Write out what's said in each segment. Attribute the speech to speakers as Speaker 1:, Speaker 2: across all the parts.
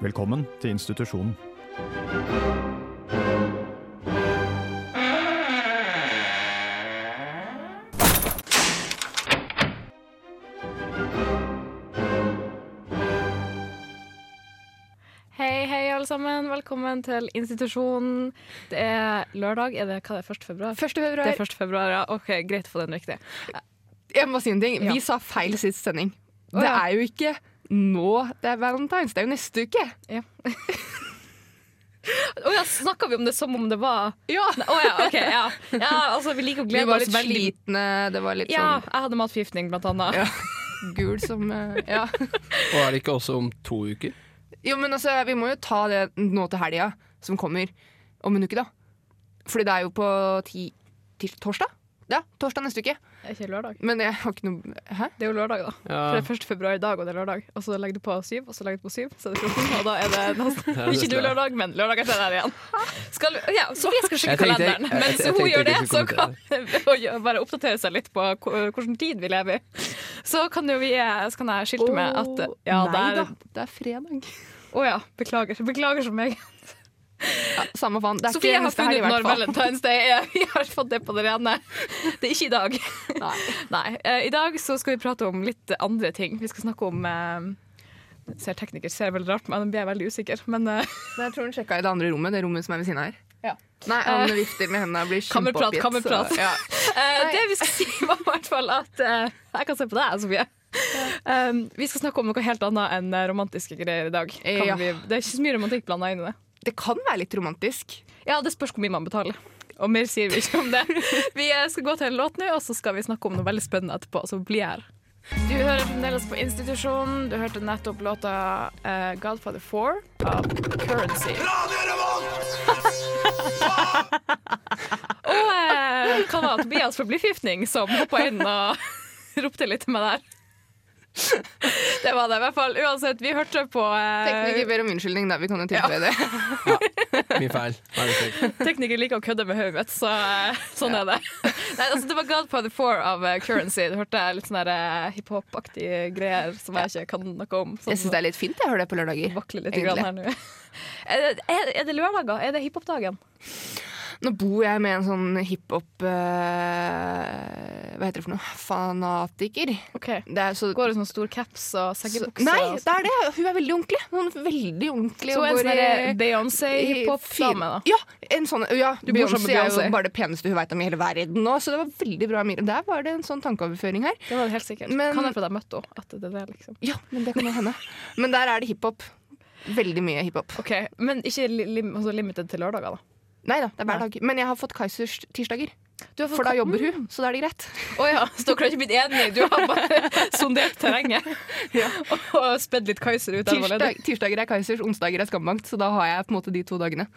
Speaker 1: Velkommen til institusjonen.
Speaker 2: Hei, hei, alle sammen. Velkommen til institusjonen. Det er lørdag. Er det hva er det, 1. februar?
Speaker 3: 1.
Speaker 2: Det
Speaker 3: februar.
Speaker 2: er 1. februar, ja. Ok, Greit å få den riktig.
Speaker 3: Jeg må si en ting.
Speaker 2: Ja.
Speaker 3: Vi sa feil sist sending.
Speaker 2: Å,
Speaker 3: det
Speaker 2: ja.
Speaker 3: er jo ikke nå det er valentines, det er jo neste uke.
Speaker 2: Å ja, snakka vi om det som om det var
Speaker 3: Ja.
Speaker 2: Å ja, OK. Ja. ja, altså, vi liker å
Speaker 3: Vi
Speaker 2: glede
Speaker 3: var
Speaker 2: oss
Speaker 3: litt
Speaker 2: veldig. sånn.
Speaker 3: slitne, det var litt
Speaker 2: Ja, jeg hadde matforgiftning, blant annet.
Speaker 3: Ja. sånn gul som eh, Ja.
Speaker 4: Og er det ikke også om to uker?
Speaker 3: Jo, men altså, vi må jo ta det nå til helga som kommer om en uke, da. Fordi det er jo på ti, tirs, torsdag? Ja, torsdag neste uke.
Speaker 2: Det er ikke lørdag.
Speaker 3: Men jeg har ikke noe Hæ?
Speaker 2: Det er jo lørdag, da. For det er 1. februar i dag, og det er lørdag. Og så legger du på syv, og så legger du på syv, så er det 14, og da er det nesten
Speaker 4: Ja, det er
Speaker 2: Ikke du
Speaker 4: det.
Speaker 2: lørdag, men lørdag etter der igjen. Skal, vi- ja, så jeg skal sjekke
Speaker 4: Jeg tenkte-
Speaker 2: kalenderen.
Speaker 4: jeg- jeg-
Speaker 2: Mens
Speaker 4: jeg
Speaker 2: hun
Speaker 4: tenkte
Speaker 2: gjør det,
Speaker 4: ikke jeg
Speaker 2: så
Speaker 4: skulle
Speaker 2: kan og gjø- bare oppdatere seg litt på ko- hvilken tid vi lever i. Så kan jo vi eh, Så kan jeg skilte med at Ja,
Speaker 3: nei
Speaker 2: der
Speaker 3: da, det er fredag.
Speaker 2: Å ja. Beklager. Beklager som meg.
Speaker 3: Ja, samme faen. Det er
Speaker 2: Sofie
Speaker 3: ikke
Speaker 2: har
Speaker 3: neste
Speaker 2: funnet
Speaker 3: helg,
Speaker 2: ut
Speaker 3: i
Speaker 2: når
Speaker 3: hvert fall.
Speaker 2: Valentine's Day er. Vi har fått det på det rene. Det er ikke i dag.
Speaker 3: Nei.
Speaker 2: Nei. eh, I dag så skal vi prate om litt andre ting. Vi skal snakke om eh, Ser tekniker ser jeg veldig rart, men jeg blir veldig usikker. Men eh,
Speaker 3: Men jeg tror hun sjekka i det andre rommet, det rommet som er ved siden av her.
Speaker 2: Ja. Eh,
Speaker 3: Nei, han vifter med hendene og blir
Speaker 2: Kammerprat,
Speaker 3: kjempeoppgitt.
Speaker 2: kammerprat.
Speaker 3: så- Ja.
Speaker 2: Eh, det vi skal si, var i hvert fall at eh, Jeg kan se på deg, Sofie. Um, vi skal snakke om noe helt annet enn eh, romantiske greier i dag. Kan
Speaker 3: Ja.
Speaker 2: vi, det er ikke så mye romantikk blanda inn i det.
Speaker 3: Det kan være litt romantisk.
Speaker 2: Ja, Det spørs hvor mye man betaler. Og mer sier vi ikke om det. Vi eh, skal gå til en låt nå, og så skal vi snakke om noe veldig spennende etterpå. Så bli her. Du hører fremdeles på Institusjonen. Du hørte nettopp låta eh, Godfather 4 av Currency. Og eh, kan ha Tobias for forblivgiftning som hoppa inn og ropte litt med der. Det var det i hvert fall. Uansett, vi hørte på
Speaker 3: Tekniker
Speaker 2: eh,
Speaker 3: ber om unnskyldning, da. Vi kan jo tilføye det.
Speaker 4: Min feil. Hva er det for?
Speaker 2: Tekniker liker å kødde med hodet mitt, så eh, sånn er det. Nei, altså, det var Godfather 4 av eh, Currency. Du hørte litt sånn uh, hiphop-aktige greier som jeg ikke kan noe om.
Speaker 3: Jeg syns det er litt fint jeg hører det på lørdager.
Speaker 2: vakler litt
Speaker 3: egentlig.
Speaker 2: grann her nå. Er det- Er, er det lørdager? Er det hiphop-dagen?
Speaker 3: Nå bor jeg med en sånn hiphop eh, Hva heter det for noe? Fanatiker.
Speaker 2: Ok.
Speaker 3: Det er så,
Speaker 2: Går i sånn stor caps og
Speaker 3: så
Speaker 2: seggebukse?
Speaker 3: Nei,
Speaker 2: og
Speaker 3: det er det! Hun er veldig ordentlig. Hun er veldig ordentlig.
Speaker 2: altså? Så
Speaker 3: og
Speaker 2: en
Speaker 3: går
Speaker 2: sånn
Speaker 3: i-
Speaker 2: der Beyoncé-hiphop-dame, da.
Speaker 3: Ja, en sånn, ja
Speaker 2: Du bor sammen med
Speaker 3: Beyoncé er jo
Speaker 2: Beyoncé.
Speaker 3: bare det peneste hun veit om i hele verden nå, så det var veldig bra. Miriam. Der var det en sånn tankeoverføring her.
Speaker 2: Det var det helt sikkert.
Speaker 3: Men-
Speaker 2: kan jeg få deg møtt henne? At det er det, liksom.
Speaker 3: Ja, men det kan jo hende. Men der er det hiphop. Veldig mye hiphop.
Speaker 2: Ok, Men ikke li lim altså limited til lørdager, da?
Speaker 3: Nei da, det er hver dag. Men jeg har fått Kaizers tirsdager,
Speaker 2: Du har fått-
Speaker 3: for da jobber hun, så da er det greit.
Speaker 2: Å ja, så dere har ikke blitt enige? Du har bare sondert terrenget og, og spedd litt Kaiser ut der allerede?
Speaker 3: Tirsdag, tirsdager er Kaizers, onsdager er Skambankt, så da har jeg på en måte de to dagene.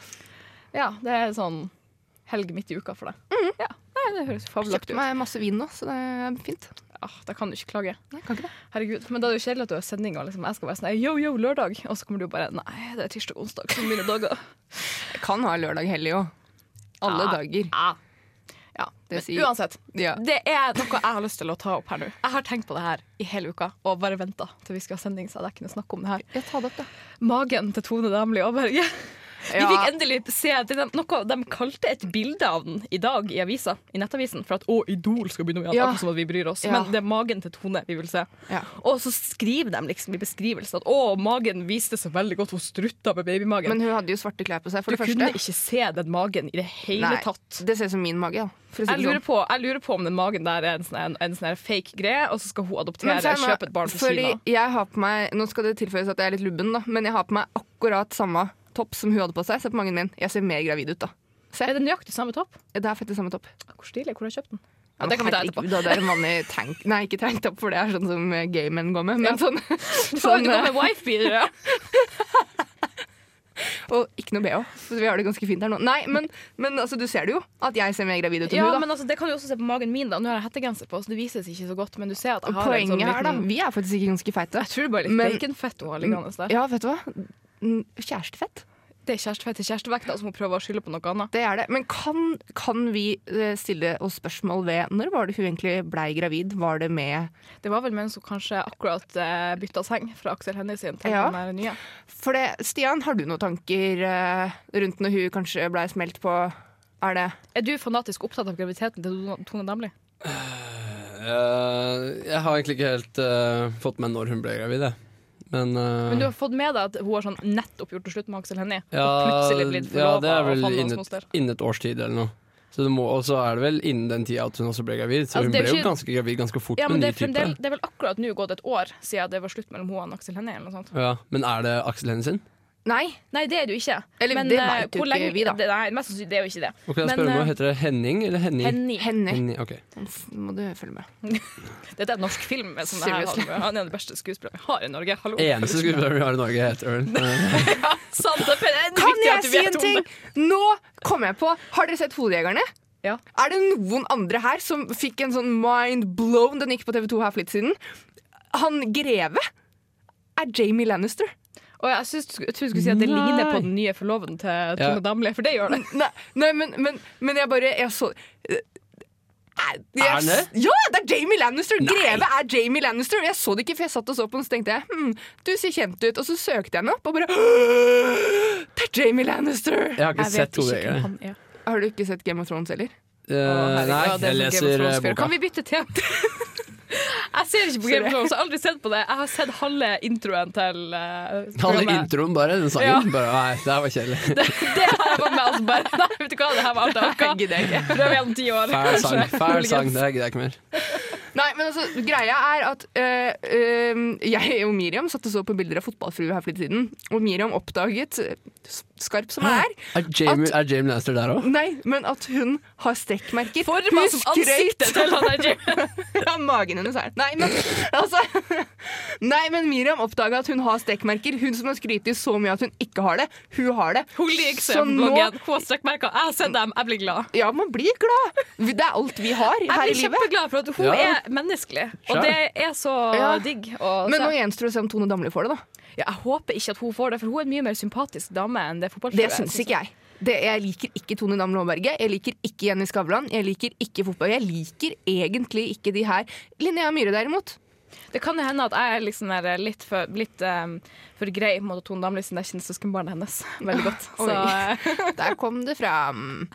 Speaker 2: Ja, det er sånn helg midt i uka for deg. Ja, Nei, det høres
Speaker 3: Kjøpte
Speaker 2: fabelaktig ut.
Speaker 3: meg masse vin nå, så det er fint.
Speaker 2: Ja, da kan du ikke klage.
Speaker 3: Nei, kan ikke det.
Speaker 2: Herregud, Men da er det jo kjedelig at du har sending og liksom, jeg skal være sånn yo, yo, lørdag. Og så kommer du bare nei, det er tirsdag og onsdag som mine dager.
Speaker 3: Jeg kan ha lørdag hellig òg. Alle
Speaker 2: Ja.
Speaker 3: dager.
Speaker 2: Ja. ja.
Speaker 3: Det
Speaker 2: Men
Speaker 3: sier-
Speaker 2: uansett,
Speaker 3: Ja.
Speaker 2: det er noe jeg har lyst til å ta opp her nå. Jeg har tenkt på det her i hele uka og bare venta til vi skal ha sending. så jeg kunne snakke om det her.
Speaker 3: Jeg tar det opp, da.
Speaker 2: Magen til Tone Damli Aaberge. Vi
Speaker 3: Ja.
Speaker 2: fikk endelig se det er noe de kalte et bilde av den i dag i avisa, i nettavisen. For at 'Å, Idol skal begynne med
Speaker 3: Ja.
Speaker 2: akkurat som at vi bryr oss.
Speaker 3: Ja.
Speaker 2: Men det er magen til Tone vi vil se.
Speaker 3: Ja.
Speaker 2: Og så skriver de liksom i beskrivelsen at 'Å, magen viste seg veldig godt, hun strutta med babymagen'.
Speaker 3: Men hun hadde jo svarte klær på seg, for
Speaker 2: du
Speaker 3: det
Speaker 2: kunne
Speaker 3: første.
Speaker 2: ikke se den magen i det hele
Speaker 3: Nei,
Speaker 2: tatt.
Speaker 3: det ser ut som min mage, da. For å si
Speaker 2: Jeg
Speaker 3: det
Speaker 2: lurer,
Speaker 3: sånn.
Speaker 2: på, jeg lurer på om den magen der er en sånn, en, en sånn her fake greie, og så skal hun adoptere
Speaker 3: Men
Speaker 2: og
Speaker 3: se nå,
Speaker 2: kjøpe et barn fra
Speaker 3: fordi
Speaker 2: Kina.
Speaker 3: Jeg har på meg, nå skal det tilføyes at jeg er litt lubben, da, men jeg har på meg akkurat samme topp som hun hadde på seg. Se på magen min. Jeg ser mer gravid ut, da.
Speaker 2: Er det nøyaktig samme topp?
Speaker 3: Det er faktisk samme topp.
Speaker 2: Hvor stilig? Hvor har jeg kjøpt den?
Speaker 3: Ja,
Speaker 2: Ja, det kan vi ta
Speaker 3: herregud,
Speaker 2: etterpå.
Speaker 3: da, det er en vanlig tank Nei, ikke tanktopp, for det er sånn som eh, gay menn går med. Men sånn,
Speaker 2: Du får
Speaker 3: sånn
Speaker 2: jo gå
Speaker 3: eh,
Speaker 2: med wife beater. ja.
Speaker 3: Og ikke noe bh, for vi har det ganske fint her nå. Nei, men, men altså, du ser det jo, at jeg ser mer gravid ut enn
Speaker 2: Ja,
Speaker 3: du, da.
Speaker 2: men altså, det kan du også se på magen min. da Nå har jeg hettegenser på, så det vises ikke så godt. Men du ser at jeg har en
Speaker 3: Poenget
Speaker 2: sånn
Speaker 3: her, da,
Speaker 2: liten Mm,
Speaker 3: vi er faktisk ikke ganske feite.
Speaker 2: Jeg tror det bare er litt
Speaker 3: Men-
Speaker 2: baconfett hun har liggende der.
Speaker 3: Ja, vet du hva? N- Kjærestefett.
Speaker 2: Det er kjærestefeil til kjærestevekt, altså hun prøver å skylde på noe annet.
Speaker 3: Det er det. Men kan, kan vi eh, stille oss spørsmål ved når var det hun egentlig blei gravid? Var det med
Speaker 2: Det var vel mens hun kanskje akkurat eh, bytta seng fra Aksel Hennie sin til
Speaker 3: Ja.
Speaker 2: den der nye.
Speaker 3: For det, Stian, har du noen tanker eh, rundt når hun kanskje blei smelt på? Er det
Speaker 2: Er du fanatisk opptatt av graviditeten til Don- Tone Damli?
Speaker 4: Eh, jeg har egentlig ikke helt eh, fått med når hun ble gravid, jeg. Men, eh,
Speaker 2: Men du har fått med deg at hun har sånn nettopp gjort det slutt med Aksel Hennie?
Speaker 4: ja,
Speaker 2: og plutselig blitt
Speaker 4: ja,
Speaker 2: forlova
Speaker 4: det er
Speaker 2: og
Speaker 4: vel
Speaker 2: fandens
Speaker 4: innen,
Speaker 2: moster?
Speaker 4: innen et års tid eller noe. Så det må, og så er det vel innen den tida at hun også ble gravid. Så
Speaker 2: Altså,
Speaker 4: hun
Speaker 2: det
Speaker 4: ble
Speaker 2: er
Speaker 4: jo
Speaker 2: ikke-
Speaker 4: ganske gravid ganske fort
Speaker 2: Ja, men
Speaker 4: med
Speaker 2: det
Speaker 4: ny
Speaker 2: er,
Speaker 4: type.
Speaker 2: fremdeles- det er vel akkurat nå gått et år siden det var slutt mellom hun og Aksel Hennie? eller noe sånt.
Speaker 4: Ja, men er det Aksel Hennie sin?
Speaker 3: Nei?
Speaker 2: Nei, det er det jo ikke.
Speaker 3: Eller,
Speaker 2: Men,
Speaker 3: det
Speaker 2: eh,
Speaker 3: vet jo
Speaker 2: hvor
Speaker 3: ikke
Speaker 2: lenge-
Speaker 3: vi, da.
Speaker 2: Det, nei, mest sannsynlig det er jo ikke det.
Speaker 4: Ok, jeg
Speaker 2: Men,
Speaker 4: spør
Speaker 2: eh,
Speaker 4: meg, Heter det Henning eller Henning?
Speaker 2: Henny.
Speaker 3: Henny.
Speaker 4: Henning, ok.
Speaker 3: Nå må du følge med.
Speaker 2: Dette er en norsk film. Med sånne her,
Speaker 3: Seriously.
Speaker 2: han er en av de beste skuespillerne vi har i Norge. Hallo.
Speaker 4: Eneste skuespiller vi har i Norge, heter hun. Eh,
Speaker 2: Sant, det er veldig
Speaker 3: Kan
Speaker 2: viktig at
Speaker 3: jeg
Speaker 2: du
Speaker 3: si
Speaker 2: vet
Speaker 3: en
Speaker 2: om
Speaker 3: ting?
Speaker 2: det.
Speaker 3: Nå kom jeg på Har dere sett Hodejegerne?
Speaker 2: Ja.
Speaker 3: Er det noen andre her som fikk en sånn mind blown Den gikk på TV2 her for litt siden. Han Greve er Jamie Lannister.
Speaker 2: Og jeg, synes, jeg tror du skulle si at det ligner på den nye forloveden til Tone
Speaker 4: Ja.
Speaker 2: Damli, for det gjør det.
Speaker 3: Nei, nei men, men, men jeg bare Jeg så Eh, jeg,
Speaker 4: Er han det?
Speaker 3: Ja, det er Jamie Lannister! Greve er Jamie Lannister. Jeg så det ikke, for jeg satt og så på den, så tenkte jeg hm, du ser kjent ut. Og så søkte jeg den opp, og bare Det er Jamie Lannister!
Speaker 4: Jeg har ikke sett to jegere.
Speaker 2: han er.
Speaker 3: Har du ikke sett Game of Thrones heller?
Speaker 4: Eh, Nei, jeg leser eh, boka.
Speaker 2: Kan vi bytte tema? Jeg ser ikke på Game
Speaker 3: Sorry.
Speaker 2: of Thrones, jeg har aldri sett på det. Jeg har sett halve introen til eh,
Speaker 4: Halve
Speaker 2: programmet.
Speaker 4: introen, bare. Den sangen.
Speaker 2: Ja.
Speaker 4: Bare, nei, det her var kjedelig.
Speaker 2: Det har jeg vært med altså bare Nei, vet du hva, det her var alt jeg orka.
Speaker 3: gidder jeg ikke.
Speaker 2: Prøv igjen om ti år.
Speaker 4: Fæl sang.
Speaker 2: kanskje.
Speaker 4: Fæl
Speaker 2: Muligens.
Speaker 4: sang, Det gidder jeg ikke mer.
Speaker 3: Nei, men altså, greia er at øh, øh, jeg og Miriam satt og så på bilder av fotballfrue her for litt siden. Og Miriam oppdaget, øh, s- skarp som jeg er,
Speaker 4: Er Jamie, er Jamie Lannister der òg?
Speaker 3: nei, men at hun har strekkmerker.
Speaker 2: Forma som
Speaker 3: Hun skrøt
Speaker 2: ansiktet til han der Jim.
Speaker 3: av magen hennes her. Nei, men altså Nei, men Miriam oppdaga at hun har strekkmerker. Hun som har skrytt så mye at hun ikke har det. Hun har det.
Speaker 2: Hun liker seg
Speaker 3: Så
Speaker 2: på bloggen. Hun har strekkmerker. Jeg har sett dem, jeg blir glad.
Speaker 3: Ja, man blir glad. Det er alt vi har
Speaker 2: Jeg
Speaker 3: her i
Speaker 2: blir
Speaker 3: livet.
Speaker 2: kjempeglad for at hun
Speaker 4: Ja.
Speaker 2: er menneskelig, og
Speaker 4: Sure.
Speaker 2: det er så
Speaker 3: Ja.
Speaker 2: digg. Å
Speaker 3: Men nå
Speaker 2: se.
Speaker 3: gjenstår det å se om Tone Damli får det, da.
Speaker 2: Ja, jeg håper ikke at hun får det, for hun er en mye mer sympatisk dame enn det fotballfrue.
Speaker 3: Det syns ikke jeg. Det, jeg liker ikke Tone Damli Aaberge. Jeg liker ikke Jenny Skavlan. Jeg liker ikke fotball. Jeg liker egentlig ikke de her. Linnea Myhre, derimot.
Speaker 2: Det kan jo hende at jeg er liksom der litt for, litt, eh, for grei mot Tone Damli, siden jeg kjenner søskenbarnet hennes veldig godt. Så
Speaker 3: Oi.
Speaker 2: eh,
Speaker 3: Der kom det fram.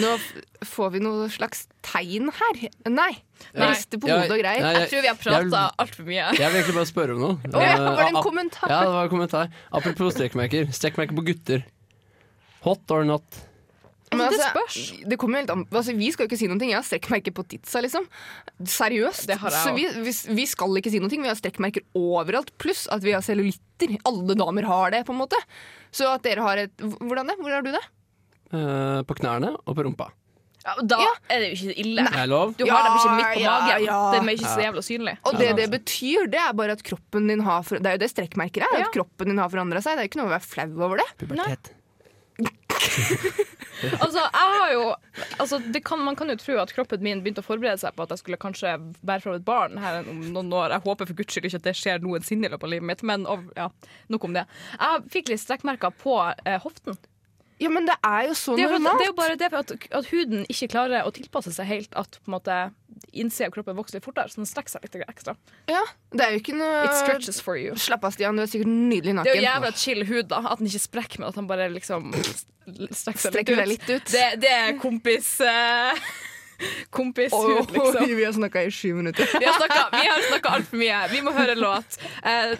Speaker 3: Nå f- får vi noe slags tegn her. Nei.
Speaker 2: Nei.
Speaker 3: Rister på hodet og greier.
Speaker 2: jeg tror vi har prata altfor mye.
Speaker 4: Jeg vil egentlig bare spørre om noe.
Speaker 3: Å ja,
Speaker 4: Eh,
Speaker 3: var det en
Speaker 4: ap-
Speaker 3: kommentar?
Speaker 4: Ja, det var en kommentar. Apropos strekkmerker. Strekkmerker på gutter. Hot or not?
Speaker 3: Men
Speaker 2: Det
Speaker 3: altså, det kommer jo helt an altså, Vi skal jo ikke si noen ting. Jeg har strekkmerker på titsa, liksom. Seriøst.
Speaker 2: Det har jeg
Speaker 3: så vi, vi, vi skal ikke si noen ting. Vi har strekkmerker overalt. Pluss at vi har cellulitter. Alle damer har det, på en måte. Så at dere har et Hvordan det? Hvor har du det?
Speaker 4: Eh, på knærne og på rumpa.
Speaker 2: Ja, og da
Speaker 3: Ja.
Speaker 2: er det jo ikke ille.
Speaker 4: Er det lov?
Speaker 2: Du har dem ikke
Speaker 3: Ja,
Speaker 2: midt på
Speaker 3: ja,
Speaker 2: magen.
Speaker 3: ja.
Speaker 2: De er ikke så jævla synlige.
Speaker 3: Og det
Speaker 4: Ja,
Speaker 3: det betyr, det er bare at kroppen din har for, Det er jo det strekkmerker er.
Speaker 2: Ja.
Speaker 3: At kroppen din har forandra seg. Det er ikke noe å være flau over det.
Speaker 4: Pubertet.
Speaker 2: Altså, jeg har jo, altså det kan, man kan jo tro at kroppen min begynte å forberede seg på at jeg skulle kanskje bære fram et barn her om noen år. Jeg håper for guds skyld ikke at det skjer noensinne i løpet av livet mitt, men og, ja, nok om det. Jeg fikk litt strekkmerker på eh, hoften.
Speaker 3: Ja, men det er jo så
Speaker 2: Det er, jo for at,
Speaker 3: normalt.
Speaker 2: det er jo bare det for at, at huden ikke klarer å tilpasse seg helt at på en måte, innsida av kroppen vokser litt fortere, så den strekker seg litt ekstra.
Speaker 3: ja, det er jo ikke
Speaker 2: It
Speaker 3: noe
Speaker 2: stretches for you.
Speaker 3: Slapp av, Stian. Du er sikkert nydelig
Speaker 2: Det er
Speaker 3: naken.
Speaker 2: jo jævla chill hud, da. At den ikke sprekker, men at den bare liksom st- strekker seg litt ut.
Speaker 3: Strekker deg litt ut.
Speaker 2: Det, det er kompis eh,
Speaker 3: Oi,
Speaker 2: Kompishud, liksom.
Speaker 3: vi har snakka i sju minutter.
Speaker 2: Vi har snakka, vi har snakka altfor mye. Vi må høre en låt. Eh,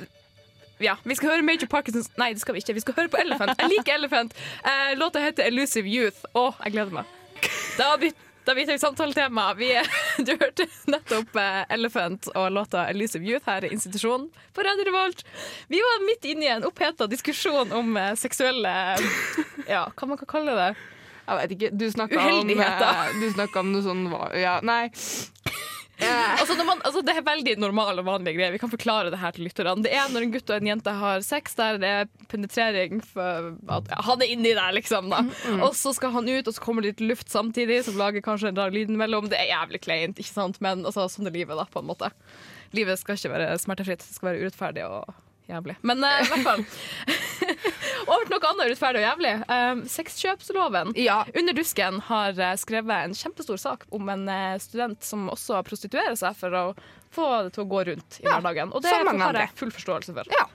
Speaker 2: ja, Vi skal høre Major Parkinsons Nei, det skal vi ikke. Vi skal høre på Elephant. Jeg liker Elephant. Eh, låta heter Elusive Youth. Å, jeg gleder meg. Da byt- da bytter vi samtaletema. Vi, du hørte nettopp eh, Elephant og låta Elusive Youth her i institusjonen på Radio Revolt. Vi var midt inne i en oppheta diskusjon om eh, seksuelle Ja, hva man kan kalle det.
Speaker 3: Jeg vet ikke. Du snakka om,
Speaker 2: Uheldighet, da.
Speaker 3: eh, du snakket om noe sånn hva- ja, Nei.
Speaker 2: Altså, når man, altså, det er veldig normale og vanlige greier. Vi kan forklare det her til lytterne. Det er når en gutt og en jente har sex, der det er penetrering for at ja, han er inni der, liksom. Da. Og så skal han ut, og så kommer det litt luft samtidig, som lager kanskje en rar lyd mellom. Det er jævlig kleint, ikke sant? Men altså, sånn er livet, da, på en måte. Livet skal ikke være smertefritt, det skal være urettferdig og Jævlig. Men eh, i hvert fall. Over til noe annet urettferdig og jævlig. Eh, sexkjøpsloven.
Speaker 3: Ja.
Speaker 2: Under dusken har eh, skrevet en kjempestor sak om en eh, student som også prostituerer seg for å få det til å gå rundt i
Speaker 3: Ja,
Speaker 2: hverdagen. Og det
Speaker 3: som mange
Speaker 2: har
Speaker 3: andre.
Speaker 2: jeg full forståelse for.
Speaker 3: ja.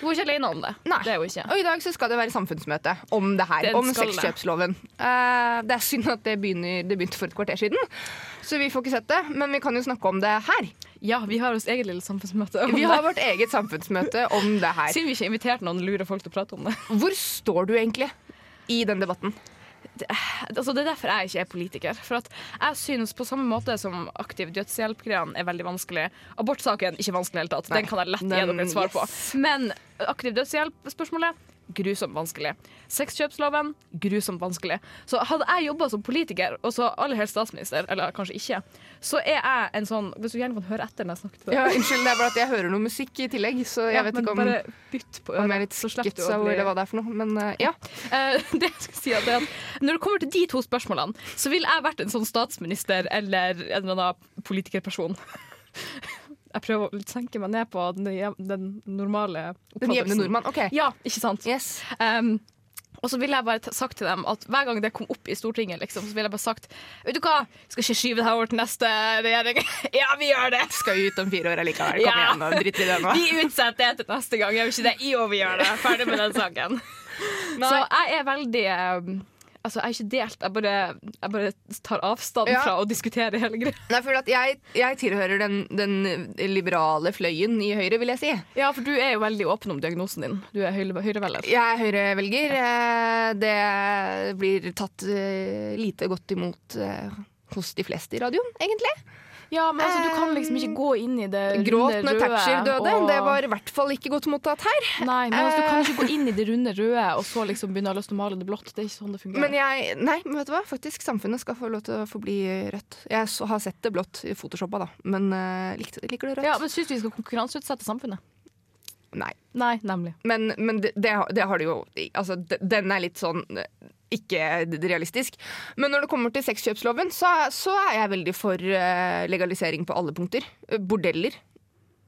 Speaker 2: Du er ikke alene om det.
Speaker 3: Nei.
Speaker 2: Det er jo ikke.
Speaker 3: Og i dag så skal det være samfunnsmøte om det her.
Speaker 2: Den
Speaker 3: om
Speaker 2: skal det.
Speaker 3: sexkjøpsloven. Eh, det er synd at det, begynner, det begynte for et kvarter siden, så vi får ikke sett det. Men vi kan jo snakke om det her.
Speaker 2: Ja, vi har vårt eget lille samfunnsmøte. om
Speaker 3: Vi
Speaker 2: det.
Speaker 3: har vårt eget samfunnsmøte om det her.
Speaker 2: Siden vi ikke inviterte noen lure folk til å prate om det.
Speaker 3: Hvor står du egentlig i den debatten?
Speaker 2: Altså, det er derfor jeg ikke er politiker. For at jeg synes på samme måte som aktiv dødshjelp-greiene er veldig vanskelig. Abortsaken ikke vanskelig i det hele tatt.
Speaker 3: Nei.
Speaker 2: Den kan jeg lett gi
Speaker 3: Den-
Speaker 2: dere et svar på.
Speaker 3: yes.
Speaker 2: Men aktiv dødshjelp-spørsmålet grusomt vanskelig. Sexkjøpsloven grusomt vanskelig. Så hadde jeg jobba som politiker, og så aller helst statsminister, eller kanskje ikke, så er jeg en sånn Hvis du gjerne kan høre etter når jeg snakker til deg.
Speaker 3: Ja, unnskyld, det er bare at jeg hører noe musikk i tillegg, så jeg
Speaker 2: Ja,
Speaker 3: vet
Speaker 2: men
Speaker 3: ikke om,
Speaker 2: Bare bytt på
Speaker 3: om jeg er
Speaker 2: øret,
Speaker 3: litt
Speaker 2: så slipper du
Speaker 3: skitsa
Speaker 2: å bli
Speaker 3: eller hva det er for noe. Men eh, ja.
Speaker 2: Eh, det jeg skal si at det er at Når det kommer til de to spørsmålene, så ville jeg vært en sånn statsminister eller en eller annen politikerperson. Jeg prøver å litt senke meg ned på den, jev- den normale
Speaker 3: Den jevne
Speaker 2: oppfattelsen.
Speaker 3: nordmann. OK.
Speaker 2: Ja, ikke sant?
Speaker 3: Yes.
Speaker 2: Em, og så ville jeg bare t- sagt til dem at hver gang det kom opp i Stortinget, liksom, så ville jeg bare sagt Vet du hva, skal ikke skyve det her over til neste regjering. ja, vi gjør det!
Speaker 3: Skal jo ut om fire år allikevel. Kom
Speaker 2: Ja.
Speaker 3: igjen, og dritt i det nå.
Speaker 2: Vi utsetter det til neste gang. Gjør vi ikke det? Jo, vi gjør det. Ferdig med den saken. Så jeg er veldig eh, Altså, jeg er ikke delt. Jeg bare, jeg bare tar avstand
Speaker 3: Ja.
Speaker 2: fra å diskutere hele greia.
Speaker 3: Nei, for at jeg, jeg tilhører den, den liberale fløyen i Høyre, vil jeg si.
Speaker 2: Ja, for du er jo veldig åpen om diagnosen din. Du er høyre- høyrevelger.
Speaker 3: Jeg er Høyre-velger. eh, Det blir tatt eh, lite godt imot eh, hos de fleste i radioen, egentlig.
Speaker 2: Ja, men altså, du kan liksom ikke gå inn i det runde,
Speaker 3: Gråt
Speaker 2: røde
Speaker 3: når Thatcher døde.
Speaker 2: og-
Speaker 3: Det var i hvert fall ikke godt mottatt her.
Speaker 2: Nei, men altså, du kan ikke gå inn i det runde røde og så liksom begynne å ha lyst til å male det blått. Det er ikke sånn det fungerer.
Speaker 3: Men jeg Nei, men vet du hva? Faktisk, samfunnet skal få lov til å forbli eh, rødt. Jeg så, har sett det blått i Photoshoppa, da, men eh, likte, liker du rødt?
Speaker 2: ja, men syns du vi skal konkurranseutsette samfunnet?
Speaker 3: Nei.
Speaker 2: Nei, nemlig.
Speaker 3: Men, men det, det, har- det har du jo altså, de- Den er litt sånn eh, ikke realistisk. Men når det kommer til sexkjøpsloven, så, så er jeg veldig for eh, legalisering på alle punkter. Eh, Bordeller,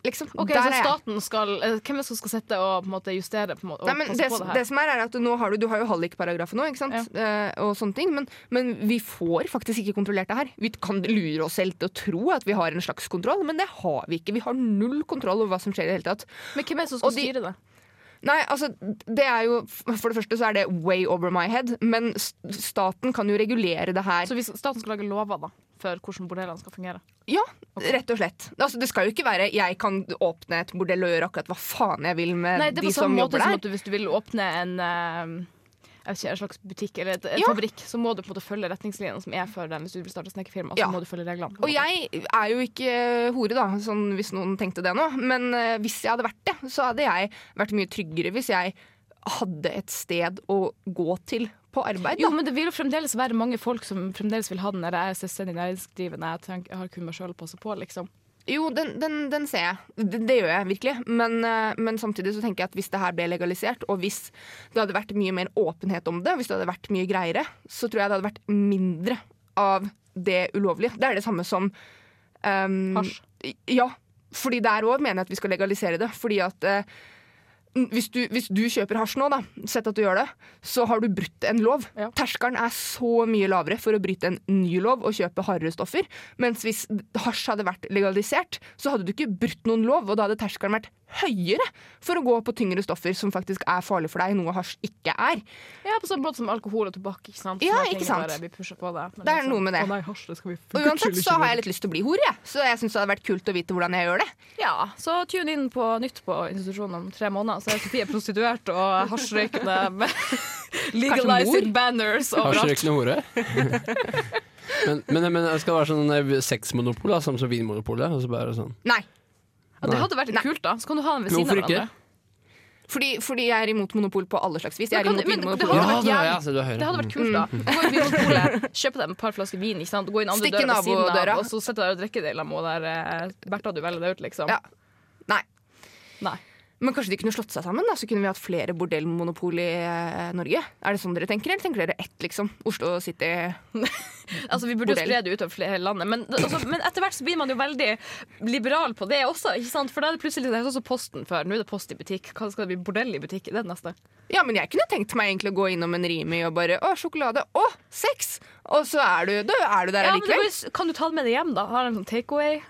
Speaker 3: liksom.
Speaker 2: Ok,
Speaker 3: Der
Speaker 2: så
Speaker 3: er jeg.
Speaker 2: staten skal eh, Hvem er det som skal sitte og på en måte, justere på en måte, og
Speaker 3: Nei, men
Speaker 2: passe
Speaker 3: det,
Speaker 2: på det her?
Speaker 3: det som er, er at nå har du, du har jo hallikparagrafen nå, ikke sant? Eh, og sånne ting. Men, men vi får faktisk ikke kontrollert det her. Vi kan lure oss selv til å tro at vi har en slags kontroll, men det har vi ikke. Vi har null kontroll over hva som skjer i det hele tatt.
Speaker 2: Men hvem er det som skal
Speaker 3: Og de-
Speaker 2: styre det?
Speaker 3: Nei, altså, det er jo For det første så er det way over my head, men s- staten kan jo regulere det her.
Speaker 2: Så hvis staten skal lage lover da, for hvordan bordellene skal fungere
Speaker 3: Ja, rett og slett. Altså, det skal jo ikke være 'jeg kan åpne et bordell og gjøre akkurat hva faen jeg vil med
Speaker 2: Nei, det er på
Speaker 3: de som
Speaker 2: samme måte
Speaker 3: jobber
Speaker 2: som
Speaker 3: der'.
Speaker 2: at du, hvis du vil åpne en eh, jeg vet ikke, en slags butikk eller et, en
Speaker 3: Ja.
Speaker 2: fabrikk, så må du på en måte følge retningslinjene som er for den hvis du vil starte snekkerfirma. Så
Speaker 3: Ja.
Speaker 2: må du følge reglene.
Speaker 3: Og jeg er jo ikke hore, da, sånn hvis noen tenkte det nå. Men eh, hvis jeg hadde vært det, så hadde jeg vært mye tryggere hvis jeg hadde et sted å gå til på arbeid. Da.
Speaker 2: jo, men det vil jo fremdeles være mange folk som fremdeles vil ha den der jeg er selvstendig næringsdrivende, jeg, tenker, jeg har kun meg sjøl å passe på, liksom.
Speaker 3: Jo, den, den, den ser jeg. Det, det gjør jeg virkelig. Men, eh, men samtidig så tenker jeg at hvis det her ble legalisert, og hvis det hadde vært mye mer åpenhet om det, hvis det hadde vært mye greiere, så tror jeg det hadde vært mindre av det ulovlige. Det er det samme som ehm,
Speaker 2: Hasj.
Speaker 3: Ja. Fordi der òg mener jeg at vi skal legalisere det. Fordi at eh, hvis du, hvis du kjøper hasj nå, da, sett at du gjør det, så har du brutt en lov.
Speaker 2: Ja.
Speaker 3: Terskelen er så mye lavere for å bryte en ny lov og kjøpe hardere stoffer. Mens hvis hasj hadde vært legalisert, så hadde du ikke brutt noen lov, og da hadde terskelen vært høyere for å gå på tyngre stoffer som faktisk er farlig for deg, noe hasj ikke er.
Speaker 2: Ja, på samme måte som alkohol og tobakk, ikke sant.
Speaker 3: Ja,
Speaker 2: Sånne ting
Speaker 3: ikke sant.
Speaker 2: Bare blir pushet på deg. Men
Speaker 3: Det er
Speaker 2: liksom,
Speaker 3: noe med det.
Speaker 2: Å nei, hasj, det skal vi
Speaker 3: Og uansett så har jeg litt lyst til å bli hore, jeg. Så jeg syns det hadde vært kult å vite hvordan jeg gjør det.
Speaker 2: Ja, så tune inn på nytt på institusjonen om tre måneder, så er Sofie prostituert og hasjrøykende med legalizing
Speaker 3: mor?
Speaker 2: banners overalt.
Speaker 4: Hasjrøykende hore. men, men, men det skal være sånn eh, sexmonopol, da, samme som Vinmonopolet. Og så bare sånn.
Speaker 3: Nei.
Speaker 2: Ja, det hadde vært litt kult, da. Så kan du ha den ved siden av
Speaker 4: Hvorfor ikke?
Speaker 2: hverandre.
Speaker 3: Fordi, fordi jeg er imot monopol på alle slags vis. Jeg er
Speaker 2: Men
Speaker 3: imot
Speaker 2: kan- men det
Speaker 3: vinmonopol.
Speaker 2: hadde
Speaker 4: Ja,
Speaker 2: vært
Speaker 4: det har
Speaker 2: jævlig-
Speaker 4: jeg, så du er
Speaker 2: Det
Speaker 4: høyre.
Speaker 2: hadde vært kult,
Speaker 3: Mm.
Speaker 2: da. Gå i Vinmonopolet, kjøpe deg et par flasker vin, ikke sant? gå inn andre
Speaker 3: Stikk i
Speaker 2: døra ved siden
Speaker 3: nabodøra.
Speaker 2: av, og så sitte der og drikke det i lag med hun der eh, Bertha du velger deg ut, liksom.
Speaker 3: Ja. Nei.
Speaker 2: Nei.
Speaker 3: Men kanskje de kunne slått seg sammen, da, så kunne vi hatt flere bordellmonopol i eh, Norge. Er det sånn dere tenker, eller tenker dere ett, liksom? Oslo City
Speaker 2: Altså, vi burde jo
Speaker 3: Bordell.
Speaker 2: spre det utover flere landet. Men, altså, men etter hvert så blir man jo veldig liberal på det også. Ikke sant? For da er det plutselig det er sånn som Posten før. Nå er det Post i butikk. Hva skal det bli? Bordell i butikk? Det er det neste.
Speaker 3: Ja, men jeg kunne tenkt meg egentlig å gå innom en Rimi og bare Å, sjokolade! Å, sex! Og så er du, da er du der
Speaker 2: Ja, men du,
Speaker 3: allikevel.
Speaker 2: kan jo- kan du ta det med deg hjem, da? Har de sånn takeaway?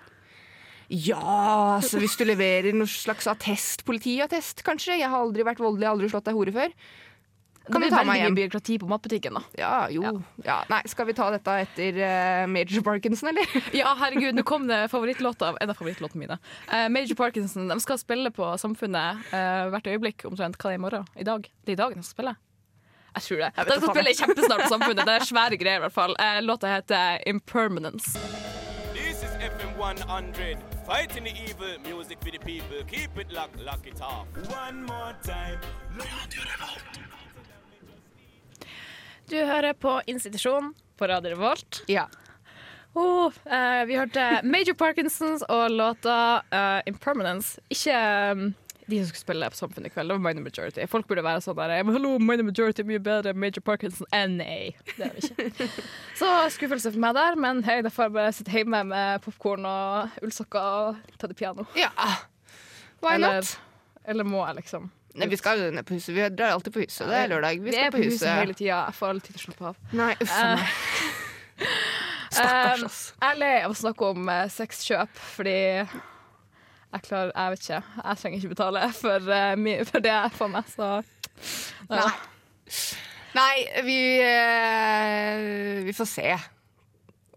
Speaker 3: Ja, altså hvis du leverer noen slags attest, politiattest kanskje. Jeg har aldri vært voldelig, jeg har aldri slått deg hore før.
Speaker 2: Det
Speaker 3: Kan du
Speaker 2: blir
Speaker 3: ta
Speaker 2: veldig
Speaker 3: meg
Speaker 2: mye
Speaker 3: hjem?
Speaker 2: byråkrati på matbutikken, da.
Speaker 3: Ja, jo. Ja. Nei, skal vi ta dette etter eh, Major Parkinson, eller?
Speaker 2: Ja, herregud, nå kom det favorittlåta En av favorittlåtene mine. Eh, Major Parkinson. De skal spille på Samfunnet eh, hvert øyeblikk omtrent. Hva er det i morgen? I dag? Det er i dag de skal spille. Jeg tror det.
Speaker 3: Jeg
Speaker 2: De
Speaker 3: vet da
Speaker 2: skal
Speaker 3: faen.
Speaker 2: spille kjempesnart på Samfunnet. Det er svære greier, i hvert fall. Eh, Låta heter Impermanence.
Speaker 1: This is FM 100, fighting the evil, music for the people. Keep it locked, lock it off. One more time.
Speaker 2: Du hører på Institusjon på Radio Revolt.
Speaker 3: Ja.
Speaker 2: Oh, eh, vi hørte Major Parkinsons og låta eh, Impermanence. Ikke eh, de som skulle spille på Samfunnet i kveld, det var Minor Majority. Folk burde være sånn der «Men Hallo, Minor Majority er mye bedre enn Major Parkinson. Eh, nei, det er det ikke. Så skuffelse for meg der, men hei, da får jeg bare sitte hjemme med popkorn og ullsokker og ta det piano.
Speaker 3: ja. Why
Speaker 2: Eller,
Speaker 3: not?
Speaker 2: eller må jeg, liksom.
Speaker 3: Nei, vi skal jo ned på huset. Vi drar alltid på huset. Det er lørdag. Vi
Speaker 2: er
Speaker 3: skal på huset.
Speaker 2: hele tida. Jeg får aldri tid til å slappe av.
Speaker 3: Nei, uff a meg. Eh, Stakkars, ass.
Speaker 2: Jeg er lei av å snakke om eh, sexkjøp, fordi jeg klarer Jeg vet ikke. Jeg trenger ikke betale for, eh, mi- for det jeg får meg, så ja.
Speaker 3: Nei. Nei, vi, eh, vi får se.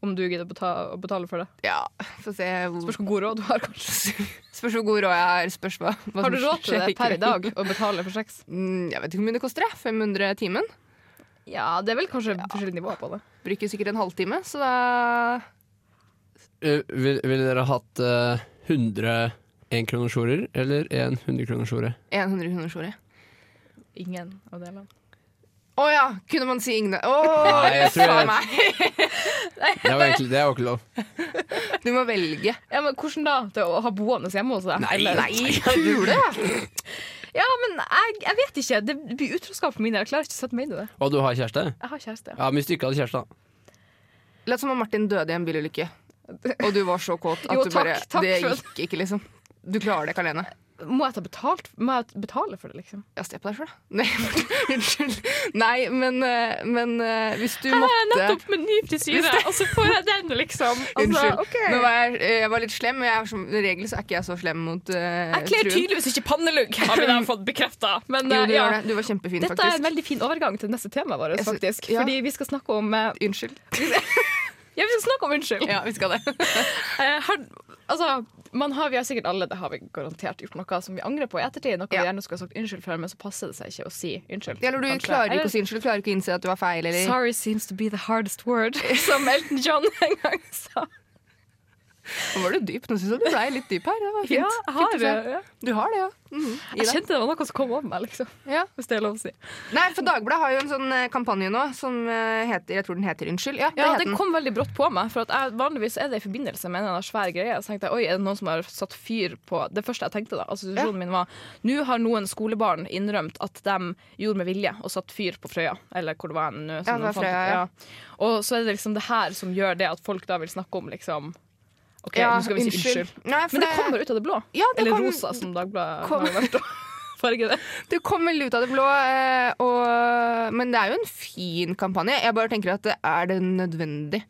Speaker 2: Om du gidder å betale, å betale for det.
Speaker 3: Ja, får se hvor
Speaker 2: Spørs hvor god råd du har, kanskje.
Speaker 3: Spørs hvor god råd jeg har. Spørs hva, hva
Speaker 2: Har du
Speaker 3: som
Speaker 2: råd til
Speaker 3: skjer
Speaker 2: det per i
Speaker 3: kveld.
Speaker 2: dag å betale for sex?
Speaker 3: Mm, Jeg vet ikke hvor mye det koster. jeg. 500 timen.
Speaker 2: Ja, det er vel kanskje forskjellige nivåer på det.
Speaker 3: Bruker sikkert en halvtime, så da
Speaker 4: Eh, vil- Ville dere hatt eh, 100 enkronersjorer eller en 100-kronersjore?
Speaker 3: 100 kroner, sorry.
Speaker 2: Ingen av delene.
Speaker 3: Å ja, kunne man si Igne? Å,
Speaker 4: Nei, jeg tror
Speaker 3: faen
Speaker 4: jeg,
Speaker 3: meg!
Speaker 4: det var egentlig det var ikke lov.
Speaker 3: Du må velge.
Speaker 2: Ja, men Hvordan da? Til å ha boende hjemme hos deg? Eller-
Speaker 3: kule!
Speaker 2: Ja, men jeg, jeg vet ikke. Det blir utroskap for min del. Jeg klarer ikke å sette meg inn i det.
Speaker 4: Og du har kjæreste?
Speaker 2: Jeg har kjæreste.
Speaker 4: Ja, men hvis du ikke hadde kjæreste, da.
Speaker 3: La oss som om Martin døde i en bilulykke, og du var så kåt at
Speaker 2: Jo,
Speaker 3: du
Speaker 2: takk,
Speaker 3: bare
Speaker 2: takk
Speaker 3: Det
Speaker 2: for det.
Speaker 3: gikk ikke, liksom. Du klarer det ikke alene.
Speaker 2: Må jeg ta betalt? Må jeg betale for det, liksom?
Speaker 3: Ja, se på deg sjøl, da. Nei, unnskyld. Nei, men, eh, men eh, hvis du
Speaker 2: Jeg er
Speaker 3: måtte
Speaker 2: nettopp med ny frisyre, og så får jeg den, liksom.
Speaker 3: Unnskyld.
Speaker 2: ok.
Speaker 3: Nå var jeg, eh, jeg var litt slem, men jeg er som regel så er ikke jeg så slem mot uh,
Speaker 2: Jeg kler tydeligvis ikke pannelugg, har vi da fått bekrefta. Men
Speaker 3: Jo,
Speaker 2: eh,
Speaker 3: du,
Speaker 2: ja.
Speaker 3: gjør det. du var kjempefin,
Speaker 2: Dette er en
Speaker 3: faktisk.
Speaker 2: veldig fin overgang til neste tema vårt,
Speaker 3: Jeg sy-
Speaker 2: faktisk.
Speaker 3: ja.
Speaker 2: Fordi vi skal snakke om eh,
Speaker 3: Unnskyld.
Speaker 2: Ja, vi skal snakke om unnskyld.
Speaker 3: Ja, vi skal det.
Speaker 2: Eh, har, altså, man har, vi har sikkert alle det har vi garantert gjort noe som vi angrer på i ettertid. Noe
Speaker 3: Ja.
Speaker 2: vi gjerne skulle ha sagt unnskyld for, men så passer det seg ikke å si unnskyld.
Speaker 3: Eller du
Speaker 2: kanskje.
Speaker 3: klarer ikke
Speaker 2: Eller-
Speaker 3: å si unnskyld, du klarer ikke å innse at du var feil, eller
Speaker 2: Sorry seems to be the hardest word, som Elton John en gang sa.
Speaker 3: Nå var du dyp. Nå syns jeg du ble litt dyp her. Det var fint.
Speaker 2: Ja, jeg har,
Speaker 3: Fint å se.
Speaker 2: ja.
Speaker 3: Du har det, ja. Mhm. I
Speaker 2: Jeg
Speaker 3: deg.
Speaker 2: kjente det var noe som kom over meg, liksom.
Speaker 3: ja.
Speaker 2: Hvis det er lov å si.
Speaker 3: Nei, for Dagbladet har jo en sånn eh, kampanje nå som eh, heter Jeg tror den heter Unnskyld. Ja, det
Speaker 2: Ja,
Speaker 3: het
Speaker 2: den
Speaker 3: den.
Speaker 2: kom veldig brått på meg. For at jeg, vanligvis er det i forbindelse med en eller annen svær greie. Så tenkte jeg, oi, er det noen som har satt fyr på Det første jeg tenkte, da, assosiasjonen min var Nå har noen skolebarn innrømt at de gjorde med vilje og satt fyr på Frøya. Eller hvor det var en,
Speaker 3: Ja, det var Frøya, ja.
Speaker 2: Og så er det liksom det her som gjør det at folk da vil snakke om liksom OK,
Speaker 3: Ja,
Speaker 2: nå skal vi si unnskyld.
Speaker 3: Nei, for
Speaker 2: Men det kommer ut av det blå.
Speaker 3: Ja, det
Speaker 2: eller
Speaker 3: kom-
Speaker 2: rosa, som Dagbladet
Speaker 3: kom-
Speaker 2: har valgt å farge det.
Speaker 3: Det kommer litt ut av det blå, eh, og, men det er jo en fin kampanje. Jeg bare tenker at eh, er det nødvendig?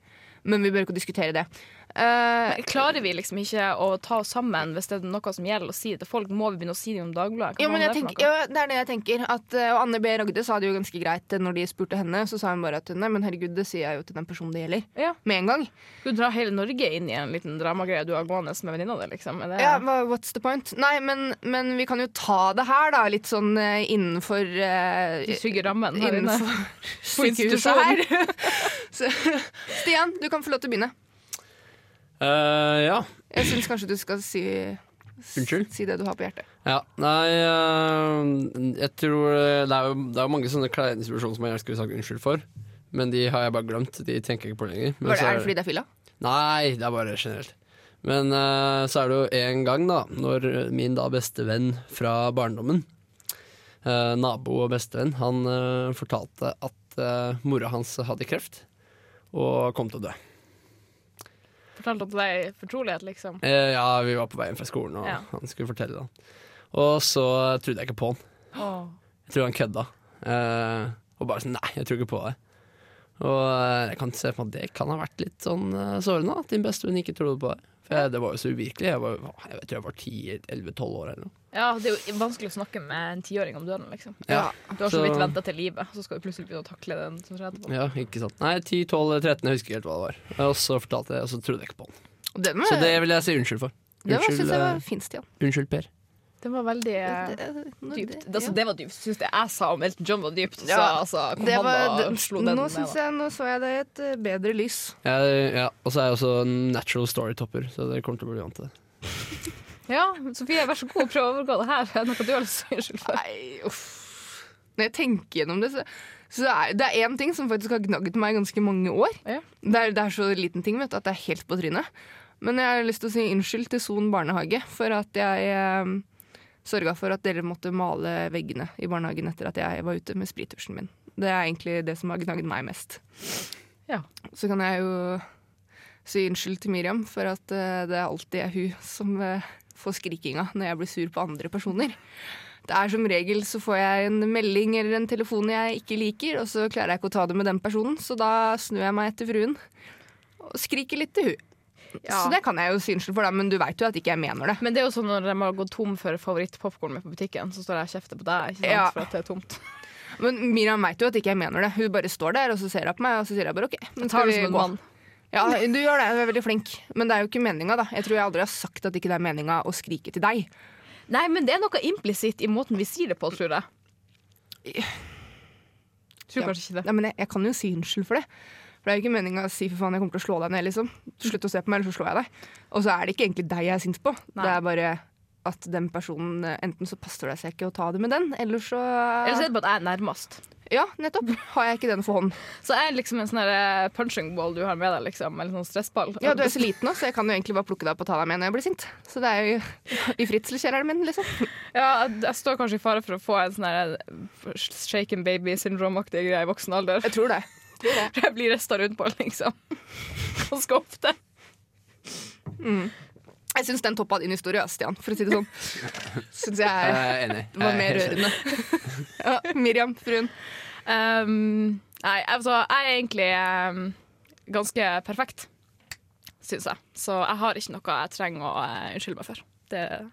Speaker 3: Men vi bør ikke diskutere det. Eh,
Speaker 2: Klarer vi liksom ikke å ta oss sammen hvis det er noe som gjelder å si det til folk? Må vi begynne å si det om Dagbladet? Hva
Speaker 3: ja, men
Speaker 2: faen er det
Speaker 3: jeg
Speaker 2: for
Speaker 3: tenker,
Speaker 2: noe?
Speaker 3: ja, det er det jeg tenker. At, eh, og Anne B. Ragde sa det jo ganske greit eh, når de spurte henne. Så sa hun bare at nei, men herregud, det sier jeg jo til den personen det gjelder.
Speaker 2: Ja.
Speaker 3: Med en gang.
Speaker 2: Du drar hele Norge inn i en liten dramagreie du har gående med venninna di, liksom. Er det,
Speaker 3: Ja, hva- what's the point? Nei, men, men vi kan jo ta det her, da. Litt sånn eh, innenfor eh,
Speaker 2: Du suger rammen her inne.
Speaker 3: Innenfor sykehuset her. Så, Stian, du kan få lov til å begynne.
Speaker 4: Eh, ja.
Speaker 3: Jeg syns kanskje du skal si
Speaker 4: Unnskyld?
Speaker 3: Si det du har på hjertet.
Speaker 4: ja. Nei, eh, jeg tror det er, jo, det er jo mange sånne kleine situasjoner som jeg gjerne skulle sagt unnskyld for. Men de har jeg bare glemt. De tenker jeg ikke på lenger. Men
Speaker 3: Var det,
Speaker 4: så
Speaker 3: er det fordi det er fylla?
Speaker 4: Nei, det er bare generelt. Men eh, så er det jo en gang, da, når min da beste venn fra barndommen, eh, nabo og bestevenn, han eh, fortalte at eh, mora hans hadde kreft og kom til å dø.
Speaker 2: Fortalte til deg i fortrolighet, liksom.
Speaker 4: Eh, ja, vi var på veien fra skolen, og
Speaker 2: Ja.
Speaker 4: han skulle fortelle det. Og så trodde jeg ikke på han.
Speaker 2: Åh.
Speaker 4: Jeg tror han kødda. Eh, og bare sånn Nei, jeg tror ikke på det. Og eh, jeg kan se for meg at det kan ha vært litt sånn eh, sårende. At din bestevenn ikke trodde på det. For jeg, det var jo så uvirkelig. Jeg, var, jeg tror jeg var 10-11-12 år eller noe.
Speaker 2: Ja, det er jo vanskelig å snakke med en tiåring om døden, liksom.
Speaker 4: Ja.
Speaker 2: Du har så
Speaker 4: Så-
Speaker 2: vidt venta til livet, så skal du plutselig begynne å takle den som skjer etterpå.
Speaker 4: Ja, ikke sant. Nei, 10-12-13, jeg husker ikke helt hva det var. Og så fortalte jeg, og så trodde jeg ikke på han.
Speaker 3: Og Den,
Speaker 4: Så det vil jeg si unnskyld for.
Speaker 3: den var-
Speaker 4: Unnskyld,
Speaker 3: synes jeg var
Speaker 4: eh,
Speaker 3: fin, Stian.
Speaker 4: unnskyld Per.
Speaker 2: Det var veldig
Speaker 3: Det- det-
Speaker 2: dypt. Det,
Speaker 3: det-
Speaker 2: altså,
Speaker 3: ja.
Speaker 2: det var dypt. Syns det jeg sa om Elton John var dypt, så
Speaker 3: Ja,
Speaker 2: altså, kom
Speaker 3: Det
Speaker 2: han
Speaker 3: var,
Speaker 2: og slo
Speaker 3: det,
Speaker 2: den
Speaker 3: nå,
Speaker 2: ned,
Speaker 3: synes
Speaker 2: da.
Speaker 3: jeg, nå så jeg det i et eh, bedre lys.
Speaker 4: Jeg, ja, og så er jeg også en natural storytopper, så dere kommer til å bli vant til det.
Speaker 2: Ja, Sofie, vær så god, prøv å overgå det her. Er det Noe du har lyst til å si unnskyld for.
Speaker 3: Nei, uff. Når jeg tenker gjennom det, så, så er det er én ting som faktisk har gnagd meg i ganske mange år.
Speaker 2: Ja.
Speaker 3: Det, er, det er så liten ting vet du, at det er helt på trynet. Men jeg har lyst til å si unnskyld til Son barnehage for at jeg eh, sørga for at dere måtte male veggene i barnehagen etter at jeg var ute med sprittusjen min. Det er egentlig det som har gnagd meg mest.
Speaker 2: Ja.
Speaker 3: Så kan jeg jo si unnskyld til Miriam for at eh, det alltid er hun som eh, får skrikinga når jeg blir sur på andre personer. Det er som regel så får jeg en melding eller en telefon jeg ikke liker, og så klarer jeg ikke å ta det med den personen, så da snur jeg meg etter fruen og skriker litt til hun.
Speaker 2: Ja.
Speaker 3: Så det kan jeg jo si unnskyld for, da, men du veit jo at ikke jeg mener det.
Speaker 2: Men det er jo sånn når de har gått tom for favorittpopkornet på butikken, så står jeg og kjefter på deg ikke sant?
Speaker 3: Ja.
Speaker 2: for at det er tomt.
Speaker 3: Men Miriam veit jo at ikke jeg mener det. Hun bare står der og så ser hun på meg, og så sier jeg bare OK. Men
Speaker 2: Tar
Speaker 3: skal
Speaker 2: det
Speaker 3: vi
Speaker 2: som en
Speaker 3: gå?
Speaker 2: mann.
Speaker 3: Ja, du gjør det, du er veldig flink. Men det er jo ikke meninga, da. Jeg tror jeg aldri har sagt at ikke det er meninga å skrike til deg.
Speaker 2: Nei, men det er noe implisitt i måten vi sier det på, tror jeg. Tror
Speaker 3: Ja.
Speaker 2: kanskje ikke det.
Speaker 3: Nei, men jeg, jeg kan jo si unnskyld for det. For Det er jo ikke meninga å si for faen jeg kommer til å slå deg ned. liksom. Slutt å se på meg, eller så slår jeg deg. Og så er det ikke egentlig deg jeg er sint på.
Speaker 2: Nei.
Speaker 3: Det er bare at den personen eh, Enten så passer det seg ikke å ta det med den, eller så
Speaker 2: Eller så er det bare at jeg er nærmest.
Speaker 3: Ja, nettopp. Har jeg ikke den for hånd.
Speaker 2: Så jeg er liksom en sånn her, eh, punching ball du har med deg, liksom. Eller sånn stressball.
Speaker 3: Ja, du er så liten nå, så jeg kan jo egentlig bare plukke deg opp og ta deg med når jeg blir sint. Så det er jo i fritselkjelleren min, liksom.
Speaker 2: Ja, jeg jeg står kanskje i fare for å få en sånn her shaken baby-syndromaktig greie i voksen alder.
Speaker 3: Jeg tror det.
Speaker 2: Jeg blir resta rundt på, liksom. Ganske ofte.
Speaker 3: Jeg syns den toppa din historie, ass, Stian, for å si det sånn. Syns jeg
Speaker 4: Jeg
Speaker 3: er-
Speaker 4: er enig.
Speaker 3: var
Speaker 4: Jeg er
Speaker 3: mer
Speaker 4: helt enig.
Speaker 3: rørende. Ja, Miriam, fruen.
Speaker 2: Um, nei, altså, jeg er egentlig um, ganske perfekt, syns jeg. Så jeg har ikke noe jeg trenger å eh, unnskylde meg for. Det er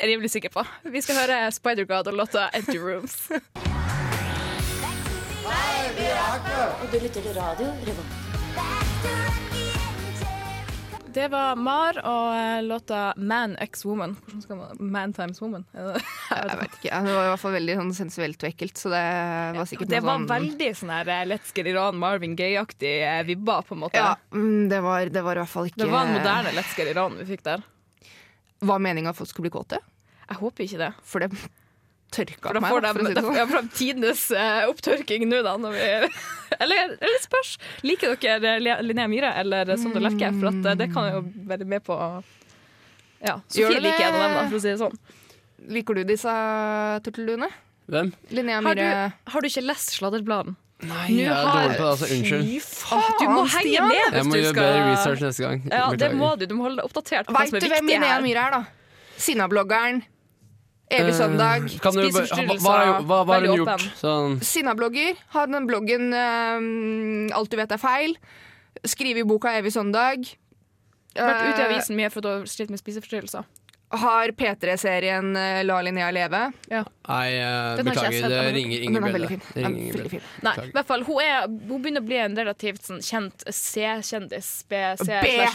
Speaker 2: jeg rimelig sikker på. Vi skal høre Spider-God og låta 'Empty Rooms'.
Speaker 5: Og du lytter til radio Revolt.
Speaker 2: Det var Mar og eh, låta 'Man X Woman'. Hvordan skal man Man Times Woman? Er det- Jeg vet
Speaker 3: Jeg vet ikke, ja, Det var i hvert fall veldig sånn sensuelt og ekkelt, så det var sikkert
Speaker 2: Det
Speaker 3: noe
Speaker 2: var
Speaker 3: sånn
Speaker 2: veldig sånn her eh, Let's get it on Marvin Gaye-aktig eh, vibba, på en måte.
Speaker 3: Ja, mm, det var, det var i hvert fall ikke
Speaker 2: Det var en moderne Let's get it on vi fikk der.
Speaker 3: Var meninga at folk skulle bli kåte?
Speaker 2: Jeg håper ikke det.
Speaker 3: For det tørka
Speaker 2: For da
Speaker 3: meg,
Speaker 2: får
Speaker 3: da,
Speaker 2: de
Speaker 3: for å si det
Speaker 2: da-
Speaker 3: sånn.
Speaker 2: ja, fra tidenes eh, opptørking nå, da. Når vi, eller, eller spørs. Liker dere Le- Linnea Myhre eller Sondre Lerche? For at, eh, det kan jeg jo være med på. å- Ja,
Speaker 3: Gjør
Speaker 2: Sofie
Speaker 3: det?
Speaker 2: liker jeg en av dem, da, for å si det sånn.
Speaker 3: Liker du disse turtelduene?
Speaker 4: Hvem?
Speaker 3: Linnea
Speaker 2: Har
Speaker 3: Myhre.
Speaker 2: du, har du ikke lest Sladderbladen?
Speaker 4: Nei,
Speaker 2: Nå
Speaker 4: jeg er
Speaker 2: har-
Speaker 4: dårlig på det. altså, Unnskyld.
Speaker 2: Fy faen, du må henge
Speaker 3: Stian.
Speaker 2: med
Speaker 4: Jeg
Speaker 2: hvis
Speaker 4: må
Speaker 2: du
Speaker 4: gjøre
Speaker 2: skal
Speaker 4: bedre research neste gang.
Speaker 2: Ja, det
Speaker 4: Beklager.
Speaker 2: må du. Du må holde deg oppdatert på hva
Speaker 3: Veit
Speaker 2: altså, som
Speaker 3: du
Speaker 2: er
Speaker 3: hvem
Speaker 2: viktig
Speaker 3: Linnea
Speaker 2: her.
Speaker 3: Myhre er, da? Sinnabloggeren. Evig
Speaker 4: Eh,
Speaker 3: søndag.
Speaker 4: kan
Speaker 2: spiser
Speaker 4: du bare- hva-
Speaker 2: forstyrrelser,
Speaker 4: Hva, hva, hva har hun
Speaker 2: veldig
Speaker 4: gjort? Sånn,
Speaker 3: Sinnablogger. Har den bloggen eh, Alt du vet er feil. Skriver i boka Evig søndag.
Speaker 2: Vært ute i
Speaker 3: Eh,
Speaker 2: avisen mye for at du har slitt med spiseforstyrrelser.
Speaker 3: Har P3-serien eh, La Linnea leve.
Speaker 4: nei, eh,
Speaker 2: Den har ikke jeg
Speaker 4: beklager,
Speaker 2: sett,
Speaker 4: det
Speaker 2: men-
Speaker 4: ringer
Speaker 3: Den
Speaker 4: ingen
Speaker 3: er
Speaker 4: bjelle.
Speaker 3: veldig fin.
Speaker 4: Det
Speaker 3: Den
Speaker 4: ringer
Speaker 3: er
Speaker 4: ingen
Speaker 3: veldig
Speaker 4: bjelle.
Speaker 3: fin.
Speaker 2: Nei,
Speaker 4: Beklager.
Speaker 2: i hvert fall, hun, er, hun begynner å bli en relativt sånn, kjent C-kjendis.
Speaker 3: B.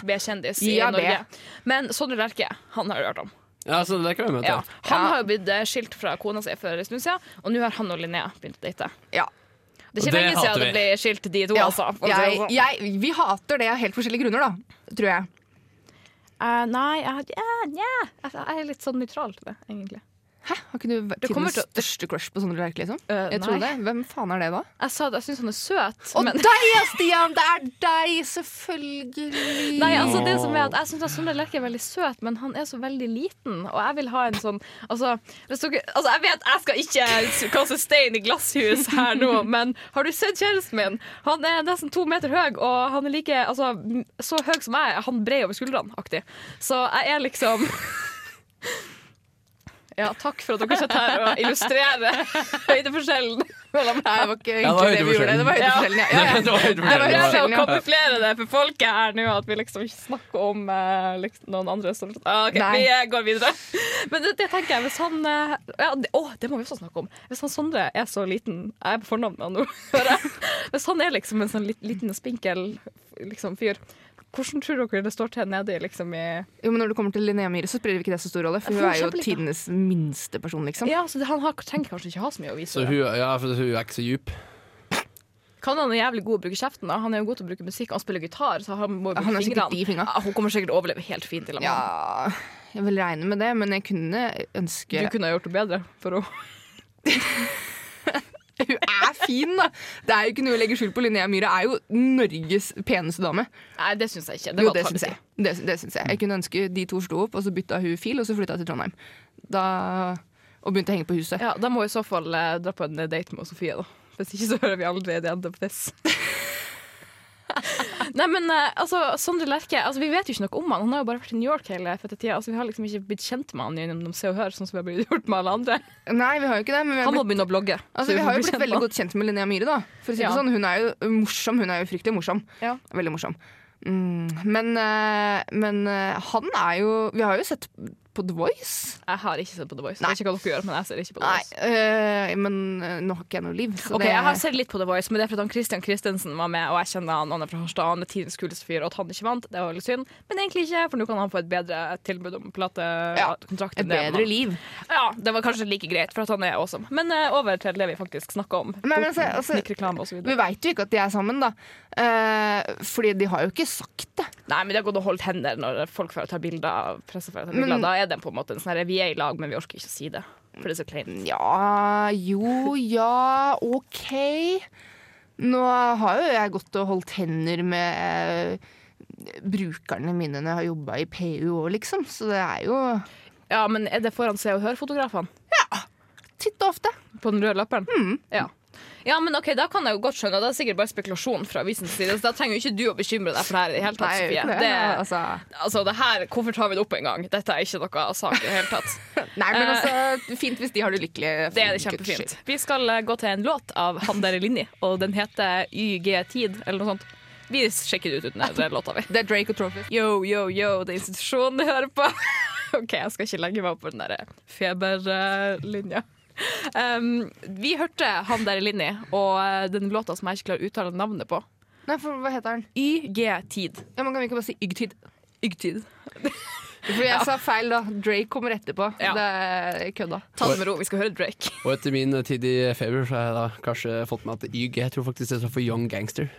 Speaker 2: B-kjendis i
Speaker 3: Ja, B.
Speaker 2: Norge. Men Sondre Lerche, han har du hørt om.
Speaker 4: Ja, så det kan vi møte.
Speaker 2: Ja.
Speaker 4: Ja.
Speaker 2: Han
Speaker 3: Ja.
Speaker 2: har jo blitt eh, skilt fra kona si for en stund siden, og nå har han og Linnea begynt å date.
Speaker 3: Ja.
Speaker 2: Det er ikke
Speaker 4: Og det
Speaker 2: lenge
Speaker 4: hater
Speaker 2: siden det ble skilt, de to, altså. for å si det
Speaker 3: Jeg,
Speaker 2: sånn.
Speaker 3: jeg, vi hater det av helt forskjellige grunner, da. Tror jeg.
Speaker 2: Eh, nei, jeg, ja, nja. jeg, jeg er litt sånn nøytral til det, egentlig.
Speaker 3: Hæ, har ikke du vært
Speaker 2: Det kommer
Speaker 3: tidenes
Speaker 2: til-
Speaker 3: største crush på Sondre Lerche, liksom?
Speaker 2: Eh,
Speaker 3: Jeg
Speaker 2: nei.
Speaker 3: tror det. Hvem faen er det, da?
Speaker 2: Jeg sa det, jeg syns han er søt,
Speaker 3: Og
Speaker 2: men
Speaker 3: deg, ja, Stian! Det er deg, selvfølgelig!
Speaker 2: Nei, altså det som er at Jeg syns Sondre Lerche er veldig søt, men han er så veldig liten. Og jeg vil ha en sånn Altså, hvis dere, altså jeg vet jeg skal ikke kaste stein i glasshus her nå, men har du sett kjæresten min? Han er nesten to meter høy, og han er like altså, m- så høy som jeg er. Han bred over skuldrene, aktig. Så jeg er liksom Ja, takk for at dere sitter her og illustrerer høydeforskjellen mellom
Speaker 3: Nei, det var ikke
Speaker 4: Ja, det var
Speaker 3: egentlig det vi gjorde.
Speaker 4: høydeforskjellen.
Speaker 3: Det var høydeforskjellen, ja. ja, ja.
Speaker 4: Det var helt
Speaker 2: Jeg
Speaker 4: forferdelig.
Speaker 2: prøver å
Speaker 3: forskjellen, ja.
Speaker 2: kamuflere det for folket her nå, at vi liksom ikke snakker om eh, liksom, noen andre. Som, ah, ok,
Speaker 3: Nei.
Speaker 2: Vi eh, går videre. Men det, det tenker jeg, hvis han eh, ja, det, Å, det må vi også snakke om. Hvis han Sondre er så liten Jeg er på fornavn med han nå. hører jeg. Hvis han er liksom en sånn lit- liten, spinkel liksom, fyr, hvordan tror dere det står til nede i, liksom, i
Speaker 3: Jo, men Når det kommer til Linnea Myhre, så spiller det ikke det så stor rolle. For
Speaker 2: For
Speaker 3: hun
Speaker 2: hun
Speaker 3: er jo
Speaker 2: er kjempeliten.
Speaker 3: tidenes minste person, liksom.
Speaker 2: Ja, så det, Han har, trenger kanskje ikke ha så mye å vise.
Speaker 4: Så hun, ja, for hun er ikke så djup.
Speaker 2: Kan han er jævlig god å bruke kjeften? da Han er jo god til å bruke musikk, han spiller gitar, så han må jo
Speaker 3: Han
Speaker 2: bruke
Speaker 3: har sikkert
Speaker 2: fingrene.
Speaker 3: de fingra.
Speaker 2: Ja, hun kommer sikkert til å overleve helt fint. Til og med.
Speaker 3: Ja, jeg vil regne med det, men jeg kunne ønske
Speaker 2: Du kunne ha gjort det bedre for henne.
Speaker 3: Hun er fin, da! Det er jo ikke noe å legge skjul på. Linnea Myhre er jo Norges peneste dame.
Speaker 2: Nei, det syns jeg ikke.
Speaker 3: jo, det syns jeg. Det, det syns jeg. Jeg kunne ønske de to slo opp, og så bytta hun fil, og så flytta til Trondheim. Da, og begynte å henge på huset.
Speaker 2: Ja, Da må jeg i så fall eh, dra på en date med Sofie, da. Hvis ikke så hører vi aldri det enda på this. Nei, men eh, altså, Sondre Lerche altså, Vi vet jo ikke noe om han Han har jo bare vært i New York hele fette tida. Altså, vi har liksom ikke blitt kjent med han gjennom Se og Hør, sånn som vi har blitt gjort med alle andre.
Speaker 3: Nei, vi har jo ikke det, men vi har,
Speaker 2: Han må
Speaker 3: blitt,
Speaker 2: begynne å blogge.
Speaker 3: altså, vi har jo blitt veldig godt kjent med Linnea Myhre, da. For å si det
Speaker 2: Ja.
Speaker 3: sånn, hun er jo morsom. Hun er jo fryktelig morsom.
Speaker 2: Ja.
Speaker 3: Veldig morsom. Mm, men, eh, men eh, han er jo Vi har jo sett på The Voice.
Speaker 2: Jeg har ikke sett på The Voice.
Speaker 3: Nei.
Speaker 2: Jeg vet ikke hva dere gjør, men jeg ser ikke på The
Speaker 3: Nei,
Speaker 2: Voice.
Speaker 3: eh, men eh, nå har ikke jeg noe liv. Så
Speaker 2: Ok,
Speaker 3: det,
Speaker 2: Jeg har sett litt på The Voice, men det er fordi han Christian Christensen var med. Og jeg kjenner han, han er fra Harstad, han er tidens kuleste fyr, og at han ikke vant, det var veldig synd. Men egentlig ikke, for nå kan han få et bedre tilbud om
Speaker 3: Ja,
Speaker 2: platekontrakt.
Speaker 3: et bedre liv.
Speaker 2: Ja, det var kanskje like greit, for at han er awesome. Men eh, over til det vi faktisk snakker om.
Speaker 3: Nei, men altså- altså-
Speaker 2: Snikreklame og så
Speaker 3: Vi
Speaker 2: videre.
Speaker 3: veit jo ikke at de er sammen, da. Eh, fordi de har jo ikke sagt det.
Speaker 2: Nei, men det har gått å holde hender når folk får ta bilder av presse for å ta bilder.
Speaker 3: Men-
Speaker 2: da er det på en måte en sånn her, vi er i lag, men vi orker ikke å si det. For det er så kleint.
Speaker 3: Ja, jo, ja, ok. Nå har jo jeg gått og holdt hender med eh, brukerne mine når jeg har jobba i PU òg, liksom. Så det er jo
Speaker 2: Ja, men er det foran Se og Hør-fotografene?
Speaker 3: titt og ofte.
Speaker 2: På den røde lapperen?
Speaker 3: Mm.
Speaker 2: Ja. ja, men ok, da kan jeg jo godt skjønne. og Det er sikkert bare spekulasjon fra avisens side, så da trenger jo ikke du å bekymre deg for det her i det hele tatt,
Speaker 3: Nei,
Speaker 2: Sofie.
Speaker 3: det,
Speaker 2: Det,
Speaker 3: altså.
Speaker 2: altså, det her, hvorfor tar vi det opp en gang? Dette er ikke noe sak i det hele tatt.
Speaker 3: Nei, men
Speaker 2: Eh,
Speaker 3: altså, fint hvis de har det lykkelig.
Speaker 2: Det er det
Speaker 3: for guds
Speaker 2: kjempefint.
Speaker 3: skyld.
Speaker 2: Vi skal eh, gå til en låt av Han der i linje, og den heter YG Tid, eller noe sånt. Vi sjekker det ut uten den låta, vi.
Speaker 3: Det er Drake og Trophy.
Speaker 2: Yo, yo, yo, det er institusjonen du hører på. OK, jeg skal ikke legge meg opp på den der feberlinja. Um, vi hørte han der i linje, og eh, den låta som jeg ikke klarer å uttale navnet på.
Speaker 3: Nei, for hva heter han?
Speaker 2: YG-tid.
Speaker 3: Ja, men Kan vi ikke bare si Ygtid?
Speaker 2: YG-tid.
Speaker 3: For jeg sa feil, da. Drake kommer etterpå.
Speaker 2: Ja.
Speaker 3: Det er jeg kødda.
Speaker 2: Ta det med ro, vi skal høre Drake.
Speaker 4: Og etter min eh, tid i Feber så har jeg da kanskje fått med at YG Jeg tror faktisk det står for Young Gangster.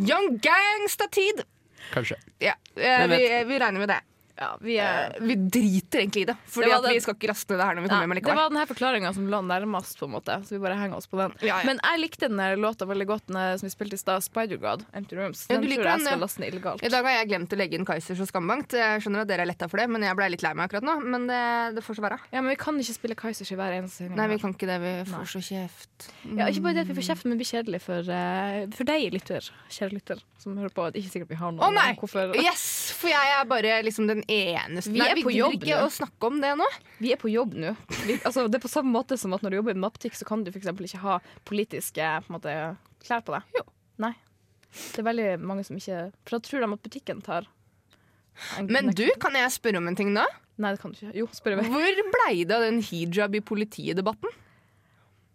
Speaker 3: Young Gangsta-tid!
Speaker 4: Kanskje.
Speaker 3: Ja, eh,
Speaker 4: Hvem
Speaker 3: vi,
Speaker 4: vet?
Speaker 3: vi regner med det.
Speaker 2: Ja, vi er...
Speaker 3: Eh, Vi driter egentlig i det. Fordi
Speaker 2: Det var
Speaker 3: at vi
Speaker 2: den-
Speaker 3: skal ikke raste ned det her når vi kommer hjem
Speaker 2: Nei, det
Speaker 3: likevel.
Speaker 2: var denne forklaringa som lå nærmest, på en måte. Så vi bare henger oss på den.
Speaker 3: Ja, ja.
Speaker 2: Men jeg likte den der låta veldig godt den der som vi spilte i stad, Spider-God, Empty Rooms.
Speaker 3: Ja,
Speaker 2: Den
Speaker 3: du liker
Speaker 2: tror jeg
Speaker 3: den, ja.
Speaker 2: skal laste ned illegalt.
Speaker 3: I dag har jeg glemt å legge inn Kaizers og Skambankt. Jeg skjønner at dere er letta for det, men jeg ble litt lei meg akkurat nå. Men det, det får så være.
Speaker 2: Ja, men vi kan ikke spille Kaizers i hver eneste sending.
Speaker 3: Nei,
Speaker 2: her.
Speaker 3: vi kan ikke det. Vi
Speaker 2: Nei.
Speaker 3: får så kjeft.
Speaker 2: Ja, ikke bare det at vi får kjeft, men det blir kjedelig for, eh, for deg, lytter, kjære lytter, som hører på. Det er ikke sikkert vi har noe
Speaker 3: Å nei!
Speaker 2: Hvorfor-
Speaker 3: Yes! For jeg er bare liksom den eneste
Speaker 2: Vi
Speaker 3: Nei,
Speaker 2: er på
Speaker 3: vi
Speaker 2: jobb
Speaker 3: gidder ikke
Speaker 2: nå.
Speaker 3: å snakke om det nå.
Speaker 2: Vi er på jobb nå. Vi, altså, det er på samme måte som at når du jobber i en matbutikk, så kan du f.eks. ikke ha politiske på en måte, klær på deg. Jo. Nei. Det er veldig mange som ikke For da tror de at butikken tar en-
Speaker 3: Men du, kan jeg spørre om en ting da?
Speaker 2: Nei, det kan du ikke. Jo, spør meg.
Speaker 3: Hvor blei det av den hijab i politiet-debatten?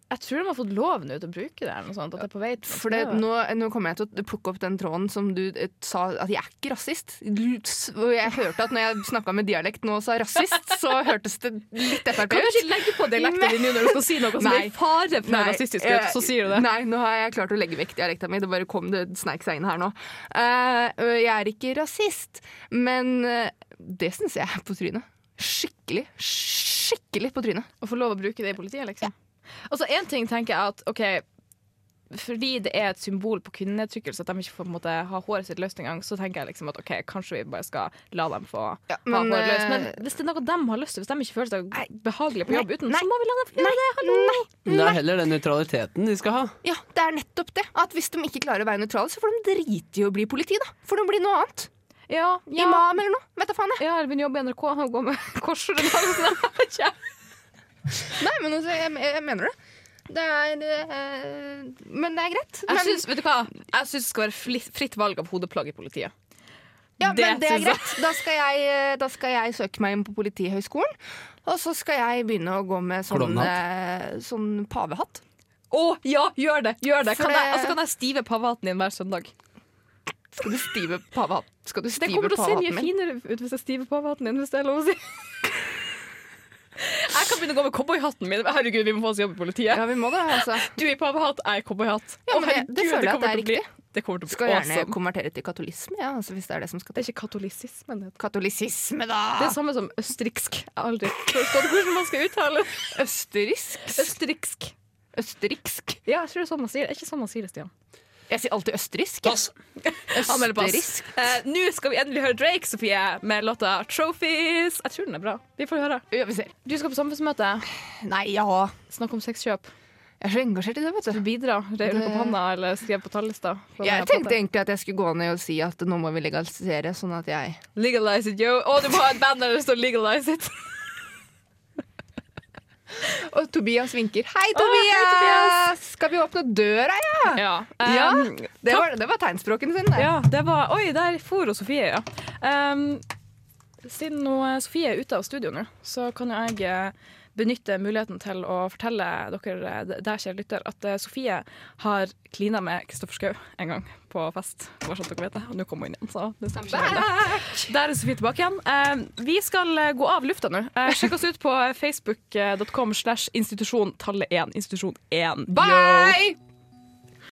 Speaker 2: Jeg tror de har fått lov nå til å bruke det, eller noe sånt. At det er på vei til
Speaker 3: For det, nå, nå kommer jeg til å plukke opp den tråden som du eh, sa at jeg er ikke rasist. Du- s- Og jeg hørte at når jeg snakka med dialekt nå og sa rasist, så hørtes det litt Frp
Speaker 2: Kan du
Speaker 3: ut.
Speaker 2: ikke legge på dialekten din nå når du skal si noe som
Speaker 3: Nei.
Speaker 2: er i fare for å være rasistisk ut, så sier du det.
Speaker 3: Nei, nå har jeg klart å legge vekk dialekta mi. Det bare kom, det sneik seg inn her nå. Eh, øh, jeg er ikke rasist, men eh, det syns jeg er på trynet. Skikkelig. Skikkelig. skikkelig på trynet.
Speaker 2: Å få lov å bruke det i politiet, liksom. Og så én ting tenker jeg at OK, fordi det er et symbol på kvinnetrykkelse at de ikke får på en måte, ha håret sitt løst engang, så tenker jeg liksom at OK, kanskje vi bare skal la dem få ha
Speaker 3: Ja, men,
Speaker 2: håret løst.
Speaker 3: eh,
Speaker 2: Men hvis det er noe de har lyst til, hvis de ikke føler seg
Speaker 3: Nei.
Speaker 2: behagelig på jobb
Speaker 3: Nei.
Speaker 2: uten,
Speaker 3: Nei.
Speaker 2: så må vi la dem få gjøre det. Hallo.
Speaker 4: Men det er heller den nøytraliteten de skal ha.
Speaker 3: Ja, det er nettopp det. At hvis de ikke klarer å være nøytrale, så får de drite i å bli politi, da. Får de bli noe annet.
Speaker 2: Ja, ja.
Speaker 3: Imam eller noe. Vet da faen, jeg.
Speaker 2: Ja, jeg begynner å jobbe i NRK og gå med korsord i dag.
Speaker 3: Nei, men altså, jeg, jeg mener det. Det er eh, Men det er greit.
Speaker 2: Jeg
Speaker 3: Men-
Speaker 2: syns vet du hva? Jeg syns det skal være fli- fritt valg av hodeplagg i politiet.
Speaker 3: Ja,
Speaker 2: Det
Speaker 3: men det er
Speaker 2: synes jeg.
Speaker 3: greit. Da skal, jeg, eh, da skal jeg søke meg inn på Politihøgskolen. Og så skal jeg begynne å gå med sånn, eh, sånn pavehatt.
Speaker 2: Å ja, gjør det! gjør det
Speaker 3: For
Speaker 2: kan jeg,
Speaker 3: det-
Speaker 2: Og så kan jeg stive pavehatten din hver søndag.
Speaker 3: Skal du stive pavehatt? Skal du
Speaker 2: Det
Speaker 3: stive
Speaker 2: kommer til å se mye
Speaker 3: pavehatten min?
Speaker 2: finere ut hvis jeg stiver pavehatten din, hvis det er lov å si. Jeg kan begynne å gå med cowboyhatten min. Herregud, vi må få oss jobb i politiet.
Speaker 3: Ja, vi må det, altså.
Speaker 2: Du i pavehatt, jeg i cowboyhatt.
Speaker 3: Ja,
Speaker 2: Å,
Speaker 3: men det-
Speaker 2: herregud,
Speaker 3: det føler jeg at
Speaker 2: kommer
Speaker 3: det er
Speaker 2: til å bli- Det kommer til å
Speaker 3: Skal
Speaker 2: bli
Speaker 3: gjerne
Speaker 2: awesome.
Speaker 3: konvertere til katolisme, ja, altså, hvis det er det som skal
Speaker 2: Det er
Speaker 3: til.
Speaker 2: ikke katolisismen. Det.
Speaker 3: Katolisisme,
Speaker 2: det er
Speaker 3: da!
Speaker 2: samme som østerriksk. Jeg har aldri forstått hvordan man skal uttale det.
Speaker 3: Østerriksk?
Speaker 2: Østerriksk.
Speaker 3: Østerriksk?
Speaker 2: Ja, jeg tror det er sånn man sier det. Er ikke sånn man sier det, Stian?
Speaker 3: Jeg sier alltid østerriksk. Østerriksk.
Speaker 2: Eh, Nå skal vi endelig høre Drake, Sofie, med låta 'Trophies'. Jeg tror den er bra. Vi får høre.
Speaker 3: Ja, vi ser.
Speaker 2: Du skal på samfunnsmøte.
Speaker 3: Nei, ja.
Speaker 2: Snakk om sexkjøp.
Speaker 3: Jeg er så engasjert i det, vet du.
Speaker 2: Bidra. Rev du på panna eller skrev på tallista? For
Speaker 3: Jeg
Speaker 2: denne
Speaker 3: tenkte
Speaker 2: plata.
Speaker 3: egentlig at jeg skulle gå ned og si at nå må vi legalisere, sånn at jeg
Speaker 2: Legalize it, yo. Å, du må ha et band der det står 'legalize it'.
Speaker 3: Og Tobias vinker. Hei,
Speaker 2: Å, hei,
Speaker 3: Tobias!
Speaker 2: Tobias!
Speaker 3: Skal vi åpne døra, ja?
Speaker 2: Ja.
Speaker 3: Ja,
Speaker 2: Um,
Speaker 3: det var, det var tegnspråken sin, det.
Speaker 2: ja. Det var Oi, der for hun Sofie, ja. Um, siden nå eh, Sofie er ute av studio nå, så kan jo jeg eh, benytte muligheten til å fortelle dere eh, d- der, kjære lytter, at eh, Sofie har klina med Kristoffer Schau en gang på fest. Bare sånn at dere vet det. Og nå kom hun inn igjen, så det skal ikke være det. Der er Sofie tilbake igjen. Eh, vi skal eh, gå av lufta nå. Eh, sjekk oss ut eh, på facebook.com slash institusjon tallet 1. Institusjon 1. Yo!
Speaker 3: Bye!